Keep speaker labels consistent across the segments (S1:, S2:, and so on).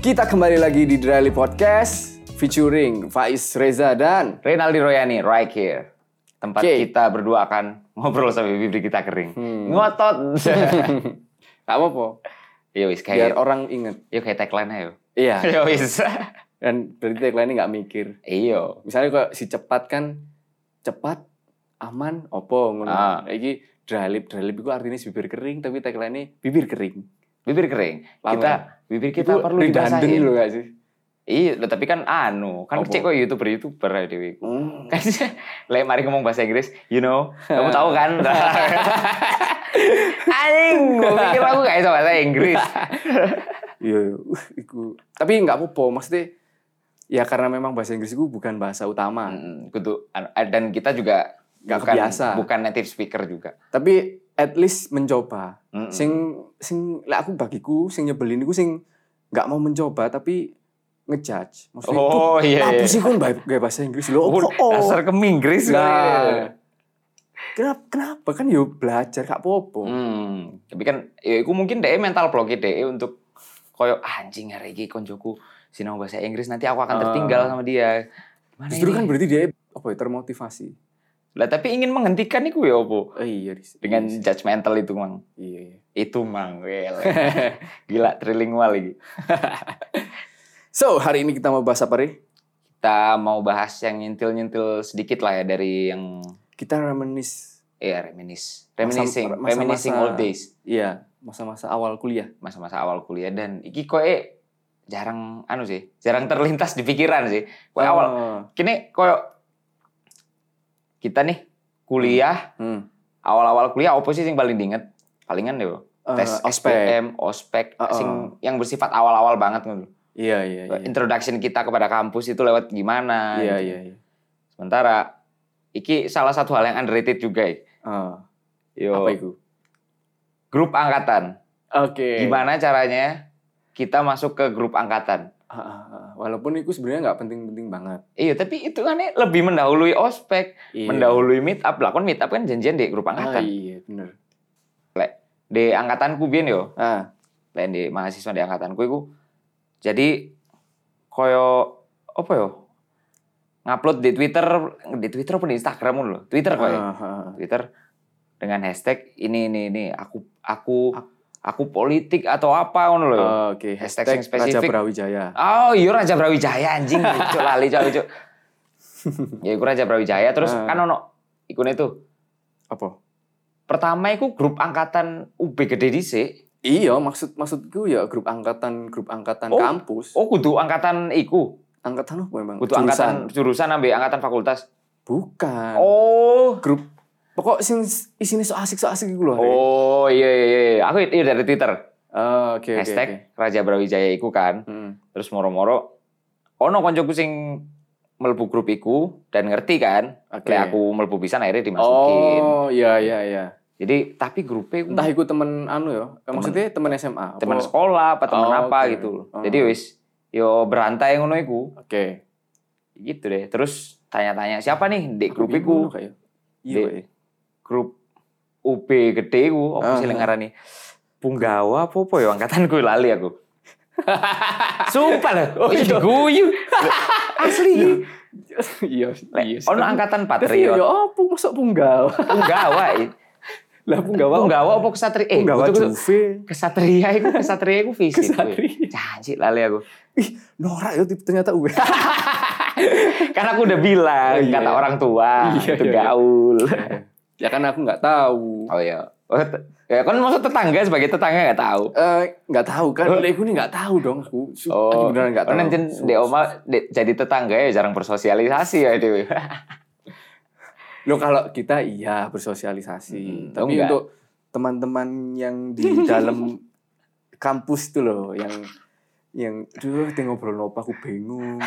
S1: Kita kembali lagi di Dryly Podcast featuring Faiz Reza dan
S2: Renaldi Royani, right here. Tempat
S1: Oke. Hmm.
S2: kita berdua akan ngobrol sampai bibir kita kering. Ngotot.
S1: Gak apa-apa,
S2: Yo wis
S1: biar
S2: kayak
S1: orang inget.
S2: yo kayak tagline ayo.
S1: Iya,
S2: Yo wis.
S1: dan berarti tagline nggak mikir.
S2: Iyo.
S1: Misalnya kalau si cepat kan, cepat, aman, opo. Ngono.
S2: Ah.
S1: Iki dralip, dralip itu artinya si bibir kering, tapi tagline bibir kering.
S2: Bibir kering.
S1: Paham
S2: Kita
S1: kan?
S2: bibir kita
S1: Itu
S2: perlu
S1: redundant
S2: dibasahin.
S1: loh gak sih?
S2: Iya, loh, tapi kan anu, kan
S1: Apa?
S2: cek kok YouTuber-YouTuber ayo dewe.
S1: Hmm.
S2: Kan lek mari ngomong bahasa Inggris, you know, kamu tahu kan? Anjing, gue pikir aku gak bisa bahasa Inggris.
S1: Iya, uh, iku. Tapi nggak apa-apa, maksudnya ya karena memang bahasa Inggris itu bukan bahasa utama.
S2: Mm, kudu anu, eh, dan kita juga
S1: Nggak
S2: bukan
S1: kebiasa.
S2: bukan native speaker juga.
S1: Tapi at least mencoba.
S2: Mm-mm.
S1: Sing sing lah aku bagiku sing nyebelin iku sing nggak mau mencoba tapi ngejudge. Maksudnya oh,
S2: oh iya.
S1: apa
S2: iya.
S1: sih kon bae- gawe bahasa Inggris lho?
S2: Oh,
S1: Opo?
S2: dasar ke Inggris iya,
S1: Nah. Kenapa, kenapa kan yo belajar gak apa-apa.
S2: Hmm, tapi kan ya iku mungkin DE mental block DE untuk koyo "Ah, anjing hari iki konjoku sinau bahasa Inggris nanti aku
S1: Ah.
S2: akan tertinggal sama dia. Gimana
S1: Justru
S2: ini?
S1: kan berarti dia apa ya termotivasi.
S2: lah tapi ingin menghentikan iku ya opo?
S1: Eh, iya, Dis.
S2: Dengan
S1: Iya,
S2: judgmental itu mang.
S1: iya, iya.
S2: Itu mang. Wele. Gila trilingual lagi.
S1: So, hari ini kita mau bahas apa, Re?
S2: Kita mau bahas yang nyentil-nyentil sedikit lah ya dari yang
S1: Kita reminis
S2: Iya, reminis.
S1: Masa-
S2: Reminiscing,
S1: masa-masa-
S2: reminiscing old days.
S1: Iya, masa-masa awal kuliah.
S2: Masa-masa awal kuliah dan iki koe jarang anu sih, jarang terlintas di pikiran sih. Koe awal
S1: Hmm. Oh.
S2: kini koyo kita nih kuliah,
S1: Hmm.
S2: awal-awal kuliah opo sih yang paling diinget? Palingan deh, Bro.
S1: Eh,
S2: tes
S1: ospek.
S2: SPM, ospek,
S1: Uh-uh.
S2: sing yang bersifat awal-awal banget ngono.
S1: Iya, iya, iya.
S2: Introduction kita kepada kampus itu lewat gimana?
S1: Iya,
S2: gitu.
S1: iya, iya.
S2: Sementara iki salah satu hal yang underrated juga. ya.
S1: Ah,
S2: Yo,
S1: apa itu?
S2: grup angkatan.
S1: Oke.
S2: gimana caranya kita masuk ke grup angkatan.
S1: Ah, ah, ah. Walaupun itu sebenarnya nggak penting-penting banget.
S2: Iya, tapi itu kan lebih mendahului ospek,
S1: Iya.
S2: mendahului meet up lah. Kan meet up kan janjian di grup
S1: Ah,
S2: angkatan.
S1: iya, bener.
S2: Di angkatanku biyen yo,
S1: Ah,
S2: lain di mahasiswa di angkatanku iku. Jadi koyo apa yo? Ngupload di Twitter, di Twitter apa di Instagram dulu. Twitter
S1: ah,
S2: koyo.
S1: ah, ah.
S2: Twitter dengan hashtag ini ini ini aku aku
S1: Ah.
S2: aku politik atau apa ngono loh.
S1: Oke,
S2: Hashtag
S1: hashtag
S2: yang
S1: Raja
S2: spesifik.
S1: Brawijaya.
S2: Oh iya Raja Brawijaya anjing lucu lali cok lucu. Ya iku Raja Brawijaya terus
S1: Ah.
S2: kan ono ikune tuh.
S1: Apa?
S2: Pertama iku grup angkatan UB gede dhisik.
S1: Iya, maksud maksudku ya grup angkatan grup angkatan
S2: Oh.
S1: kampus.
S2: Oh kudu angkatan iku.
S1: Angkatan apa emang?
S2: Kudu angkatan jurusan ambil angkatan fakultas.
S1: Bukan.
S2: Oh.
S1: Grup pokok sing isinya so asik so asik gitu loh. Re.
S2: Oh iya iya iya. Aku iya dari Twitter.
S1: Ah, Oke, oke,
S2: Hashtag
S1: oke.
S2: Raja Brawijaya iku kan.
S1: Mm.
S2: Terus moro-moro ono koncoku sing melebu grup iku dan ngerti kan.
S1: Oke.
S2: Lek aku melebu pisan akhirnya dimasukin.
S1: Oh, iya iya iya.
S2: Jadi tapi e grupnya iku
S1: Entah iku temen anu ya. Maksudnya temen SMA. apa?
S2: teman sekolah apa teman
S1: Oh,
S2: apa
S1: oke.
S2: gitu loh.
S1: Oh.
S2: Jadi wis yo berantai ngono iku.
S1: Oke.
S2: Gitu deh. Terus tanya-tanya siapa nih di grup
S1: Bingung
S2: iku?
S1: kayak. Iya.
S2: Dek.
S1: weh.
S2: Grup UB gede iku apa sih
S1: Ah.
S2: lek ngarani? Punggawa apa apa ya angkatan gue lali aku. Sumpah lah, oh iya guyu. Asli.
S1: Iya. Iya.
S2: Ono angkatan
S1: Patriot. Ya
S2: patriot.
S1: apa masuk punggawa?
S2: iya, Punggawa. i.
S1: Lah punggawa.
S2: Punggawa apa kesatria? Eh,
S1: Punggawa
S2: betul-betul.
S1: Juve.
S2: Kesatria iku kesatria iku fisik.
S1: Kesatria.
S2: Kesatria. Janji lali aku.
S1: Ih, norak ya tipe- ternyata gue.
S2: Karena aku udah bilang
S1: Oh, iya,
S2: kata
S1: iya.
S2: orang tua
S1: Iya,
S2: itu
S1: iya, iya.
S2: gaul.
S1: ya kan aku nggak tahu.
S2: Oh iya. Oh, te- ya kan maksud tetangga sebagai tetangga nggak tahu.
S1: Eh, nggak tahu kan? Lah, aku nih nggak tahu dong aku. Su- aku beneran nggak tahu.
S2: Kan encen
S1: Su-
S2: di oma di- jadi tetangga ya jarang bersosialisasi ya dewe.
S1: Loh kalau kita iya bersosialisasi,
S2: Mm,
S1: tapi
S2: enggak.
S1: untuk teman-teman yang di dalam kampus itu loh yang yang duh dia ngobrol apa aku bingung.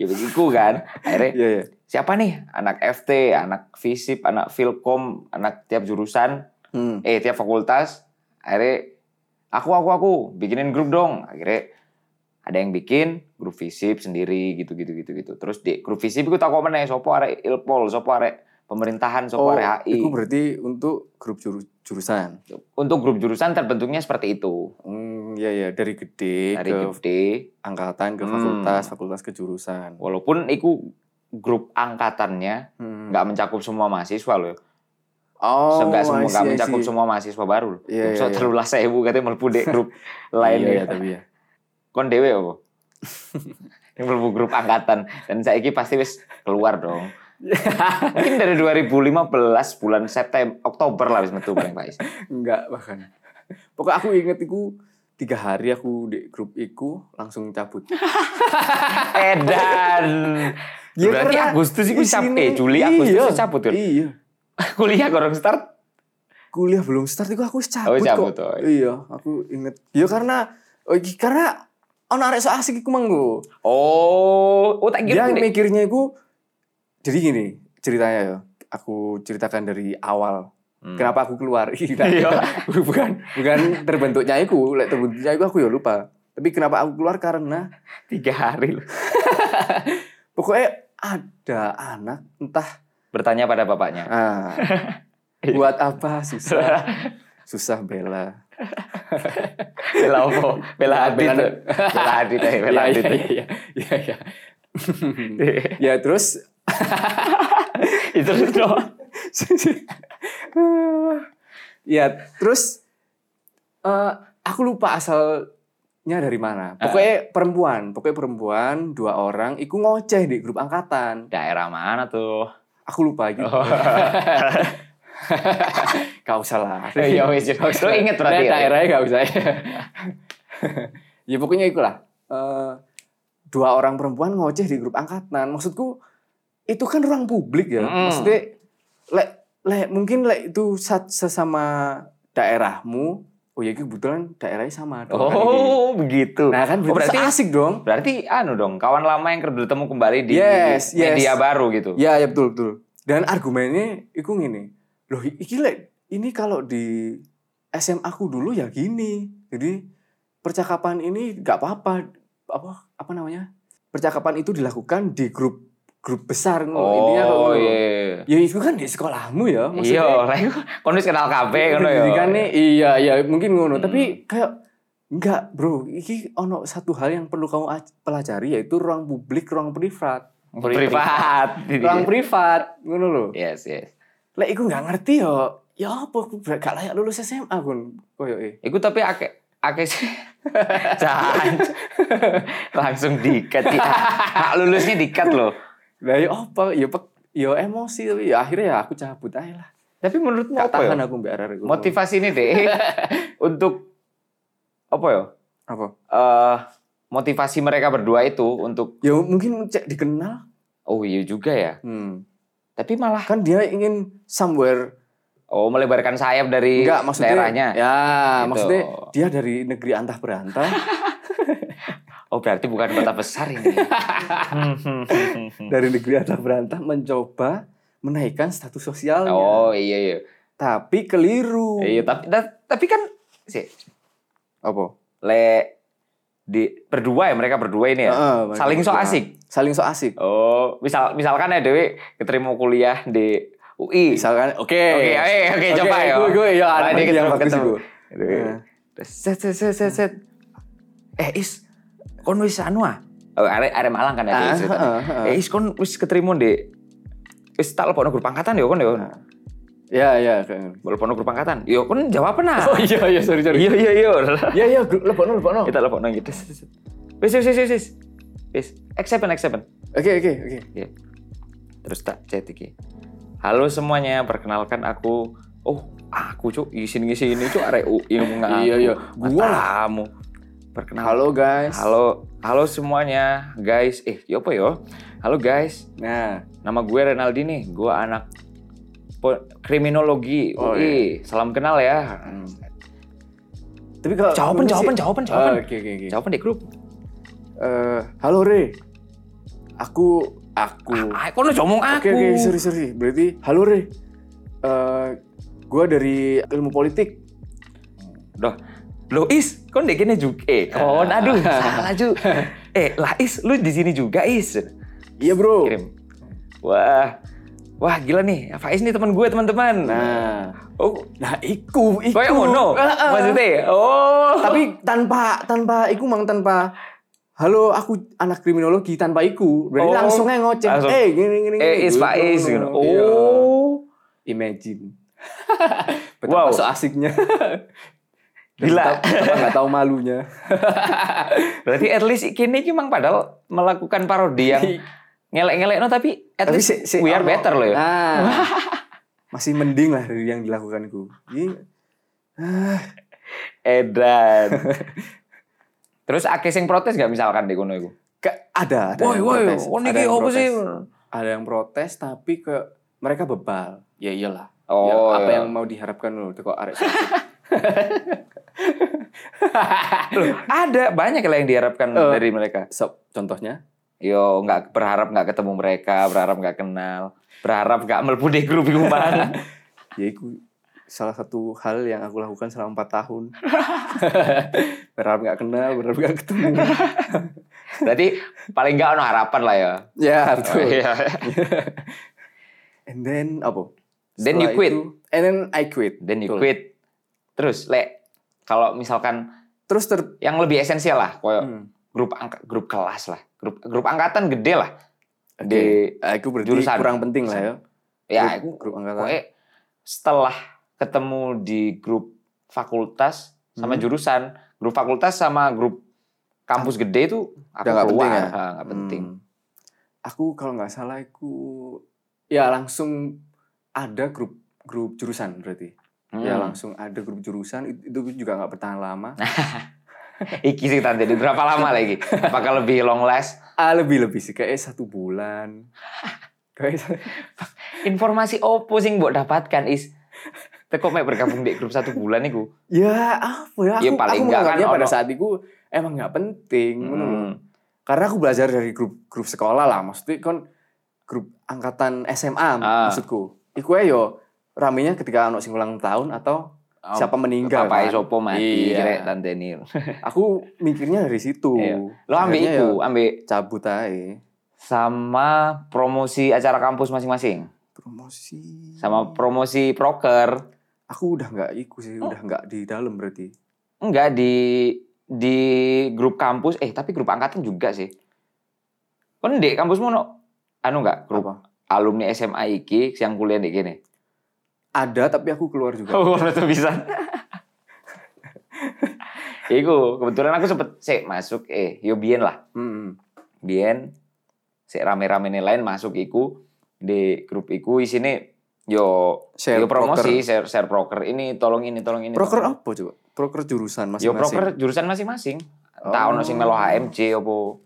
S2: ya begitu kan. Akhirnya
S1: Iya ya.
S2: siapa nih anak FT, anak FISIP, anak Filkom, anak tiap jurusan,
S1: Hmm.
S2: eh tiap fakultas. Akhirnya aku aku aku bikinin grup dong. Akhirnya ada yang bikin grup FISIP sendiri gitu gitu gitu gitu. Terus di grup FISIP iku tak komen sopo arek Ilpol, sopo arek pemerintahan,
S1: Oh,
S2: sopo arek HI.
S1: itu berarti untuk grup juru- jurusan.
S2: Untuk grup jurusan terbentuknya seperti itu.
S1: Hmm, Iya iya dari gede
S2: dari
S1: ke
S2: gede
S1: angkatan ke
S2: Hmm.
S1: fakultas, fakultas ke jurusan.
S2: walaupun iku grup angkatannya
S1: Hmm.
S2: nggak mencakup semua mahasiswa loh ya.
S1: Oh,
S2: Se- nggak semua
S1: I see,
S2: nggak
S1: I see.
S2: mencakup semua mahasiswa baru loh
S1: Iya, iya,
S2: so
S1: iya.
S2: telulah sewu katanya mlebu dek grup lain
S1: Iya,
S2: ya
S1: iya, tapi ya.
S2: kon dewe apa yang mlebu grup angkatan dan saiki pasti wis keluar dong mungkin dari 2015 bulan September Oktober lah wis metu paling Faiz
S1: Enggak bahkan. Pokoknya aku inget iku tiga hari aku di grup iku langsung cabut.
S2: edan
S1: Ya,
S2: berarti
S1: karena
S2: Agustus itu
S1: di
S2: cabut
S1: sini-
S2: eh, Juli Agustus
S1: iya,
S2: itu cabut kan
S1: Iya.
S2: kuliah gorong start
S1: Kuliah belum start iku aku wis cabut,
S2: Oh, cabut,
S1: kok.
S2: oh.
S1: Iya, aku inget. Ya karena oh, iki- karena ana arek sok asik iku mang lho.
S2: oh oh tak
S1: Dia
S2: kira nih
S1: mikirnya iku jadi gini ceritanya ya. Aku ceritakan dari awal. Kenapa aku keluar?
S2: Hmm. Iya.
S1: bukan bukan terbentuknya iku, lek terbentuknya iku aku ya lupa. Tapi kenapa aku keluar karena
S2: tiga hari loh.
S1: pokoknya ada anak entah
S2: bertanya pada bapaknya
S1: ah,
S2: Iya.
S1: buat apa susah susah bela
S2: bela apa bela adit
S1: Bela-
S2: loh. bela adit eh, bela
S1: Iya,
S2: adit
S1: iya,
S2: eh.
S1: iya, iya, iya. ya
S2: iya.
S1: terus
S2: itu dong
S1: ya terus eh, aku lupa asalnya dari mana pokoknya perempuan pokoknya perempuan dua orang iku ngoceh di grup angkatan
S2: daerah mana tuh
S1: aku lupa gitu gak usah lah
S2: ya wis lo inget
S1: Nah,
S2: berarti ya?
S1: daerahnya nggak usah ya pokoknya itulah Eh, dua orang perempuan ngoceh di grup angkatan maksudku itu kan ruang publik ya
S2: Mm.
S1: maksudnya lek lek mungkin lek itu sa- sesama daerahmu oh ya kebetulan daerahnya sama dong kan ini.
S2: oh begitu
S1: nah kan
S2: Oh,
S1: berarti
S2: berarti-
S1: asik dong
S2: berarti anu dong kawan lama yang bertemu kembali di
S1: Yes, yes.
S2: media baru gitu
S1: ya ya betul betul dan argumennya iku gini loh iki lek ini kalau di SMA aku dulu ya gini jadi percakapan ini nggak apa-apa apa apa namanya percakapan itu dilakukan di grup grup besar ngono. Intinya kok
S2: oh
S1: ngono.
S2: iya
S1: ya itu kan di sekolahmu ya
S2: iya
S1: maksudnya
S2: lah iku kon wis kenal kabeh ngono ya
S1: pendidikannya iya iya mungkin ngono
S2: Hmm.
S1: tapi kayak enggak bro iki ono satu hal yang perlu kamu aj- pelajari yaitu ruang publik ruang privat
S2: privat
S1: ruang privat ngono loh
S2: yes yes
S1: Lek iku gak ngerti yo. Ya apa aku ber- gak layak lulus SMA kon koyoke.
S2: Iku tapi ake ake sih. Jangan. langsung dikat ya. Hak lulusnya dikat loh.
S1: Lah ya apa? Ya pek ya emosi tapi ya akhirnya ya aku cabut aja lah.
S2: Tapi menurutmu
S1: Gak
S2: apa ya?
S1: tahan aku mbak Arar. iku.
S2: Motivasi ini deh untuk apa ya?
S1: apa?
S2: Eh, motivasi mereka berdua itu untuk
S1: Ya mungkin cek dikenal.
S2: oh iya juga ya.
S1: Hmm.
S2: Tapi malah
S1: Kan dia ingin somewhere
S2: oh melebarkan sayap dari
S1: enggak maksudnya
S2: daerahnya.
S1: Ya,
S2: Gitu.
S1: maksudnya dia dari negeri antah berantah.
S2: Oh berarti bukan kota besar ini.
S1: dari negeri antah berantah mencoba menaikkan status sosialnya.
S2: oh iya iya.
S1: Tapi keliru.
S2: Iya tapi da- tapi kan sih
S1: Apa?
S2: le di berdua ya mereka berdua ini ya.
S1: Heeh,
S2: saling so asik.
S1: Saling so asik.
S2: Oh, misal misalkan ya Dewi keterima kuliah di UI.
S1: Misalkan oke.
S2: Oke, oke, oke, coba ya.
S1: Gue gue ya ada
S2: Ada
S1: yang
S2: yang
S1: bagus
S2: ketemu.
S1: iku.
S2: Dewi.
S1: Nah.
S2: Terus Set set set set set. Eh Is, kon wis anu ah? Oh, are are Malang kan ya Dewi
S1: Ah,
S2: ceritanya.
S1: ah, ah.
S2: Eh Is kon wis keterima di wis tak lepokno grup angkatan ya kon ya.
S1: Ya ya kayak-
S2: Lepokno grup angkatan. Yo kon jawaban nah.
S1: Oh iya iya sorry sorry.
S2: Ah. Iya iya iya.
S1: Ya ya gru- lebokno lebokno.
S2: Kita lepokno gitu. Set, set, set. Wis wis wis wis, wis. Wis. Accept accept.
S1: Oke oke oke.
S2: Iya. Terus tak chat iki. Halo semuanya, perkenalkan aku. Oh, aku cuk, isin ngisi ini cuk arek UI ngomong aku.
S1: Iya, iya. Gua lah.
S2: kamu. Perkenalkan.
S1: Halo guys.
S2: Halo, halo semuanya, guys. Eh, ya apa yo? Halo guys,
S1: Nah,
S2: nama gue Renaldi nih. Gue anak po- kriminologi
S1: Oh,
S2: UI. Salam kenal ya.
S1: tapi kalau ngomong
S2: Jawaban,
S1: sih-
S2: jawaban, jawaban,
S1: Ah,
S2: jawaban.
S1: Oke oke oke.
S2: Jawaban di grup.
S1: Eh, halo Re. Aku aku.
S2: Ah, kok lu ngomong
S1: Oke
S2: aku?
S1: oke sorry sorry. Berarti halo Re. Eh, gua dari ilmu politik.
S2: Duh, lo is, kon dek kene juga. Eh,
S1: Oh,
S2: kon aduh, salah ju. Eh, lah is, lu di sini juga is.
S1: Iya bro.
S2: Kirim. Wah, wah gila nih Faiz nih teman gue teman-teman nah oh
S1: Nah, iku, iku. Ah,
S2: kayak ngono
S1: Heeh.
S2: maksudnya oh
S1: Tapi tanpa tanpa iku mang tanpa halo aku anak kriminologi tanpa iku. Berarti
S2: Oh.
S1: langsung aja ngoceh.
S2: Langsung.
S1: Eh, gini gini.
S2: eh is
S1: Gitu.
S2: Faiz gitu
S1: Iya.
S2: oh
S1: imagine. Betapa
S2: Wow.
S1: so asiknya.
S2: Gila.
S1: Betapa nggak tahu malunya.
S2: berarti at least kini cuma padahal melakukan parodi yang ngelek-ngelek no tapi at
S1: Tapi
S2: least
S1: si- si-
S2: we are
S1: ono-
S2: better loh ya
S1: Nah, masih mending lah dari yang dilakukanku. Ini
S2: edan terus akeh sing protes gak misalkan di kono iku
S1: ke- ada ada
S2: woi
S1: yang
S2: woi
S1: protes,
S2: kono
S1: ada
S2: iki
S1: yang
S2: opo sih
S1: protes. Ada yang protes tapi ke mereka bebal. Ya iyalah.
S2: oh
S1: Ya, apa
S2: iya.
S1: yang mau diharapkan loh kok arek
S2: Loh, ada banyak lah yang diharapkan
S1: Eh.
S2: dari mereka.
S1: So, contohnya
S2: Yo nggak berharap nggak ketemu mereka, berharap nggak kenal, berharap nggak melbu di grup iku, Bang.
S1: yaitu ya salah satu hal yang aku lakukan selama 4 tahun berharap nggak kenal berharap nggak ketemu
S2: Berarti paling nggak ono harapan lah ya.
S1: ya betul
S2: Iya.
S1: and then apa
S2: Then you
S1: Setelah
S2: quit.
S1: itu, and then I quit
S2: Dan you
S1: Betul.
S2: quit. Terus lek kalau misalkan
S1: terus ter
S2: yang lebih esensial lah, koyo
S1: Hmm,
S2: grup angka- grup kelas lah, grup grup angkatan gede lah.
S1: oke.
S2: Di
S1: aku berarti
S2: jurusan.
S1: kurang penting lah ya
S2: ya
S1: grup,
S2: aku
S1: grup angkatan
S2: pokoknya setelah ketemu di grup fakultas sama
S1: Hmm.
S2: jurusan, grup fakultas sama grup kampus gede itu aku
S1: nggak
S2: keluar,
S1: penting ya?
S2: Ha, nggak penting.
S1: Hmm. aku kalau nggak salah aku ya langsung ada grup grup jurusan berarti ya
S2: Hmm.
S1: langsung ada grup jurusan itu- itu juga nggak bertahan lama
S2: Iki sih tante, di berapa lama lagi? Apakah lebih long last?
S1: ah lebih lebih sih kayak satu bulan kayak
S2: Informasi opo sing mbok dapatkan is teko mek bergabung di grup satu bulan iku.
S1: ya apa ya aku, aku
S2: Ya, paling nggak kan
S1: menganggapnya pada
S2: ono-
S1: saat itu emang nggak penting ngono loh.
S2: Hmm.
S1: karena aku belajar dari grup grup sekolah lah maksudnya kan grup angkatan SMA
S2: Ah.
S1: maksudku iku ae yo ramenya ketika anak sing ulang tahun atau siapa meninggal kan.
S2: Papai sopo mati
S1: Iya.
S2: kira tante Nil.
S1: aku mikirnya dari situ
S2: Iya. Lo ambil
S1: Akhirnya
S2: iku,
S1: ya
S2: ambil
S1: cabut aja
S2: sama promosi acara kampus masing-masing,
S1: promosi
S2: sama Oh. promosi proker.
S1: aku udah nggak ikut sih udah nggak di dalam berarti
S2: Enggak di di grup kampus, eh tapi grup angkatan juga sih. Kan di kampusmu no anu enggak grup
S1: apa
S2: alumni SMA iki yang kuliah di gini.
S1: ada tapi aku keluar juga
S2: Oh, ngono tuh bisa. Iku kebetulan aku sempet sik masuk eh yo biyen lah.
S1: Mm-mm.
S2: Biyen sik rame-rame nih lain masuk iku di grup iku isine yo
S1: Share
S2: yo Iya, promosi
S1: proker.
S2: share share proker ini tolong ini tolong ini.
S1: Proker
S2: tolong ini.
S1: apa coba? Proker jurusan masing-masing.
S2: Yo proker jurusan masing-masing. Entah ono sing melo HMC opo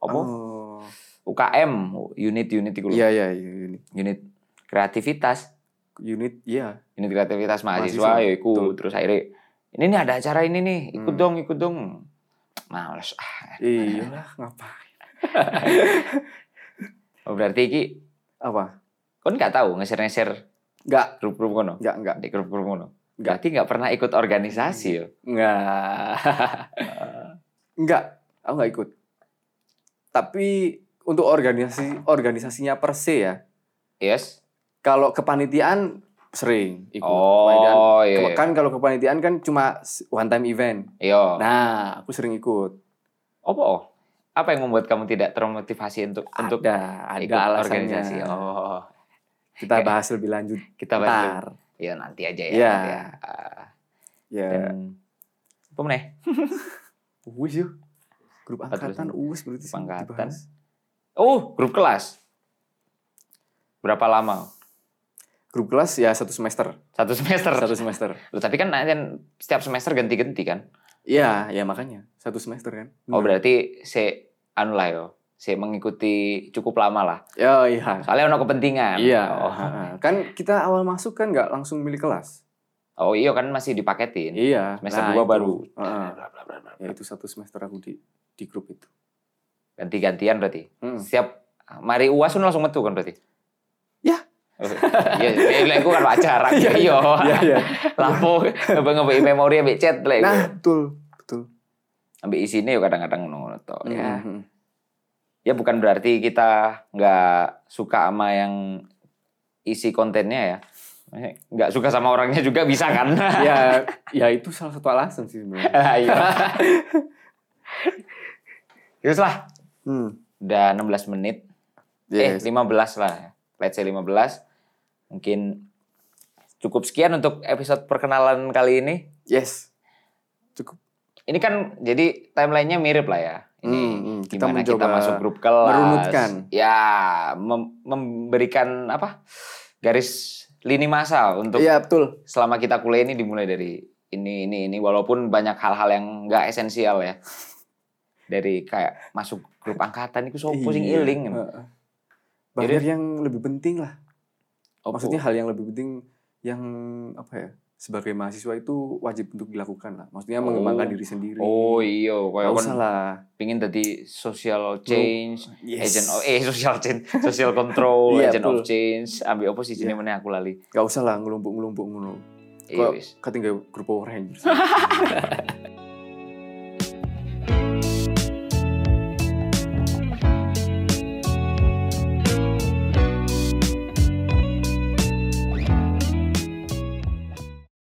S2: opo
S1: Oh.
S2: UKM unit unit iku lho.
S1: Iya iya iya unit.
S2: Unit kreativitas.
S1: Unit iya.
S2: unit kreativitas mahasiswa
S1: Mahasiswa,
S2: ya ikut
S1: betul.
S2: terus akhirnya ini nih ada acara ini nih ikut
S1: Hmm.
S2: dong ikut dong males ah
S1: Iya lah ngapain?
S2: oh, berarti iki
S1: Apa?
S2: kon nggak tahu ngeser ngeser
S1: Enggak,
S2: grup-grup kono
S1: enggak enggak
S2: di grup-grup kono
S1: Nggak.
S2: berarti nggak pernah ikut organisasi
S1: Iya.
S2: yo
S1: enggak. enggak, aku enggak ikut. Tapi untuk organisasi organisasinya per se ya.
S2: yes
S1: Kalau kepanitiaan sering ikut. Kepanitiaan.
S2: oh iya
S1: Kan kalau kepanitiaan kan cuma one time event.
S2: iya
S1: Nah, aku sering ikut.
S2: apa oh? apa yang membuat kamu tidak termotivasi untuk untuk
S1: ada ada
S2: ikut
S1: alasannya.
S2: organisasi oh
S1: Kita
S2: Kayak-
S1: bahas lebih lanjut
S2: kita bahas
S1: ntar.
S2: ya nanti aja ya,
S1: Iya.
S2: nanti ya. Ah,
S1: Ya.
S2: dan apa meneh?
S1: Uwis yuk. Grup
S2: Apa terus?
S1: angkatan Uwis berarti sih
S2: Angkatan.
S1: dibahas.
S2: Oh, grup kelas. Berapa lama?
S1: Grup kelas ya satu semester.
S2: Satu semester.
S1: Satu semester.
S2: Loh, tapi kan nanti kan setiap semester ganti-ganti kan.
S1: Iya, ya makanya. Satu semester kan.
S2: Oh, berarti se anu lah yo. Se mengikuti cukup lama lah.
S1: Ya, iya.
S2: Soalnya ono kepentingan.
S1: Iya.
S2: kan. Oh,
S1: Kan kita awal masuk kan nggak langsung milih kelas.
S2: oh iya kan masih dipaketin.
S1: Iya.
S2: Semester
S1: nah,
S2: dua
S1: itu.
S2: baru.
S1: Heeh. Ya itu satu semester aku di di grup itu.
S2: Ganti-gantian berarti.
S1: Mm.
S2: Setiap mari UAS kan langsung metu kan berarti.
S1: Ya.
S2: Oh, Iya, iya, iya, aku kan pacaran.
S1: Iya,
S2: Iya, iya.
S1: Iya, iya.
S2: Lapo ngebeki memori ambek chat lah. iku.
S1: Nah, betul.
S2: Ambek isine yo kadang-kadang ngono to. Ya.
S1: Mm.
S2: ya bukan berarti kita nggak suka sama yang isi kontennya ya eh, nggak suka sama orangnya juga bisa kan
S1: ya ya itu salah satu alasan sih sebenarnya
S2: Ah, iya Yus lah
S1: hmm.
S2: udah 16 menit
S1: yes.
S2: eh 15 lah ya. let's say 15 mungkin cukup sekian untuk episode perkenalan kali ini
S1: yes
S2: ini kan jadi timelinenya mirip lah ya. Ini
S1: Hmm, hmm. Kita
S2: gimana
S1: mencoba
S2: kita masuk grup kelas,
S1: merunutkan.
S2: ya mem- memberikan apa garis lini masa untuk
S1: iya betul
S2: selama kita kuliah ini dimulai dari ini ini ini walaupun banyak hal-hal yang nggak esensial ya dari kayak masuk grup angkatan itu so Oh, pusing
S1: Iya.
S2: iling
S1: Heeh.
S2: Jadi- Oh,
S1: banyak yang lebih penting lah
S2: Opo.
S1: maksudnya hal yang lebih penting yang apa ya sebagai mahasiswa itu wajib untuk dilakukan lah maksudnya
S2: Oh.
S1: mengembangkan diri sendiri
S2: oh iya kayak
S1: Nggak
S2: kan
S1: usah lah
S2: pingin tadi social change
S1: yes.
S2: agent oh, eh social change social control
S1: Iya,
S2: agent of
S1: betul.
S2: change ambil apa sih sini meneh aku lali
S1: Nggak usah lah ngelumpuk-ngelumpuk ngono
S2: Iya,
S1: Kok-
S2: wis.
S1: ketinggal grup Power Rangers